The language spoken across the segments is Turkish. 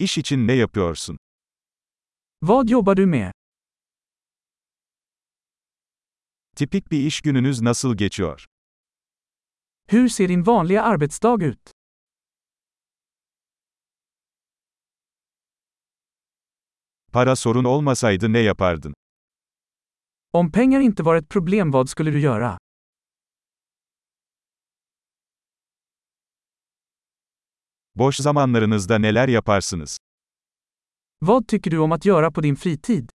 İş için ne yapıyorsun? Vad jobbar du med? Tipik bir iş gününüz nasıl geçiyor? Hur ser din vanliga arbetsdag ut? Para sorun olmasaydı ne yapardın? Om pengar inte var ett problem vad skulle du göra? Boş zamanlarınızda neler yaparsınız? Vad tycker du om att göra på din fritid?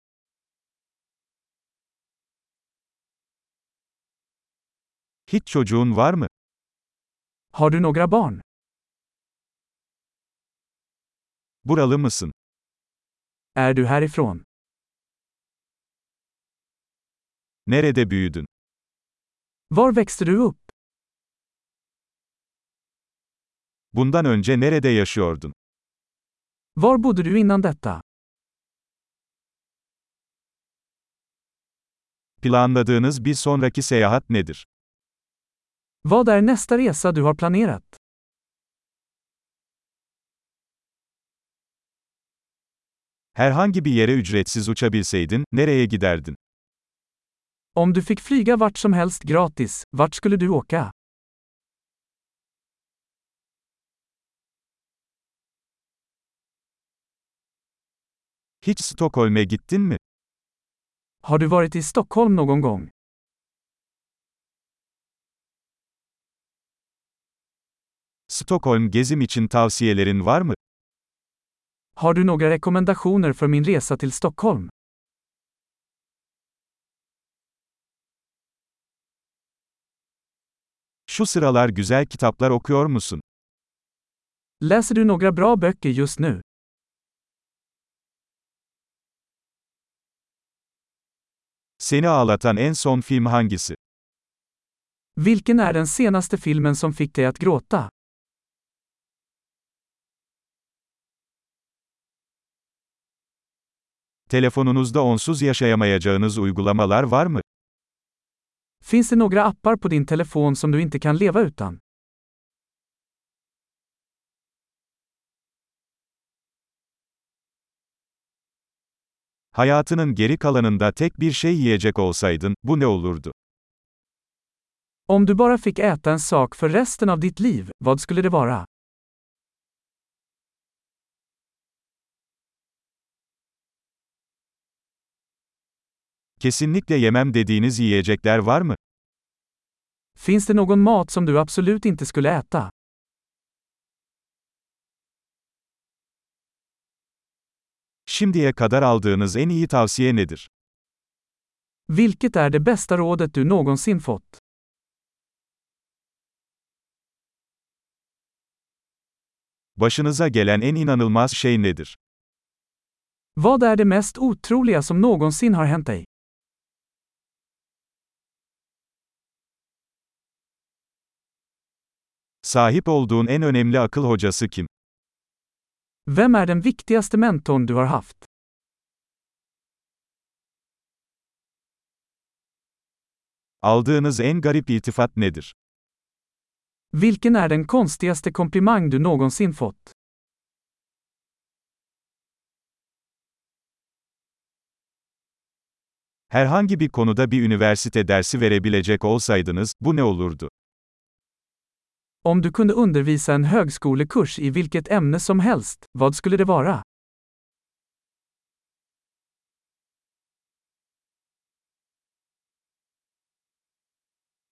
Hiç çocuğun var mı? Har du några barn? Buralı mısın? Är du härifrån? Nerede büyüdün? Var växte du upp? Bundan önce nerede yaşıyordun? Var bodde du innan detta? Planladığınız bir sonraki seyahat nedir? Vad är nästa resa du har planerat? Herhangi bir yere ücretsiz uçabilseydin, nereye giderdin? Om du fick flyga vart som helst gratis, vart skulle du åka? Hiç Stockholm'e gittin mi? Har du varit i Stockholm någon gång? Stockholm gezim için tavsiyelerin var mı? Har du några rekommendationer för min resa till Stockholm? Şu sıralar güzel kitaplar okuyor musun? Läser du några bra böcker just nu? Seni ağlatan en son film hangisi? Vilken är den senaste filmen som fick dig att gråta? Telefonunuzda onsuz yaşayamayacağınız uygulamalar var mı? Finns det några appar på din telefon som du inte kan leva utan? Hayatının geri kalanında tek bir şey yiyecek olsaydın, bu ne olurdu? Om du bara fick äta en sak för resten av ditt liv, vad skulle det vara? Kesinlikle yemem dediğiniz yiyecekler var mı? Finns det någon mat som du absolut inte skulle äta? Şimdiye kadar aldığınız en iyi tavsiye nedir? Vilket är det bästa rådet du någonsin fått? Başınıza gelen en inanılmaz şey nedir? Vad är det mest otroliga som någonsin har hänt dig? Sahip olduğun en önemli akıl hocası kim? Vem är den viktigaste mentorn du har haft? Aldığınız en garip iltifat nedir? Vilken är den konstigaste komplimang du någonsin fått? Herhangi bir konuda bir üniversite dersi verebilecek olsaydınız, bu ne olurdu? Om du kunde undervisa en högskolekurs i vilket ämne som helst, vad skulle det vara?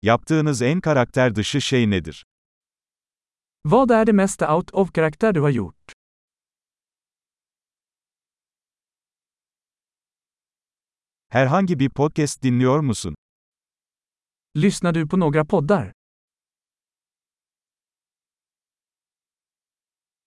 Yaptığınız en karakter dışı şey nedir? Vad är det mesta out of-karaktär du har gjort? Herhangi bir podcast dinliyor musun? Lyssnar du på några poddar?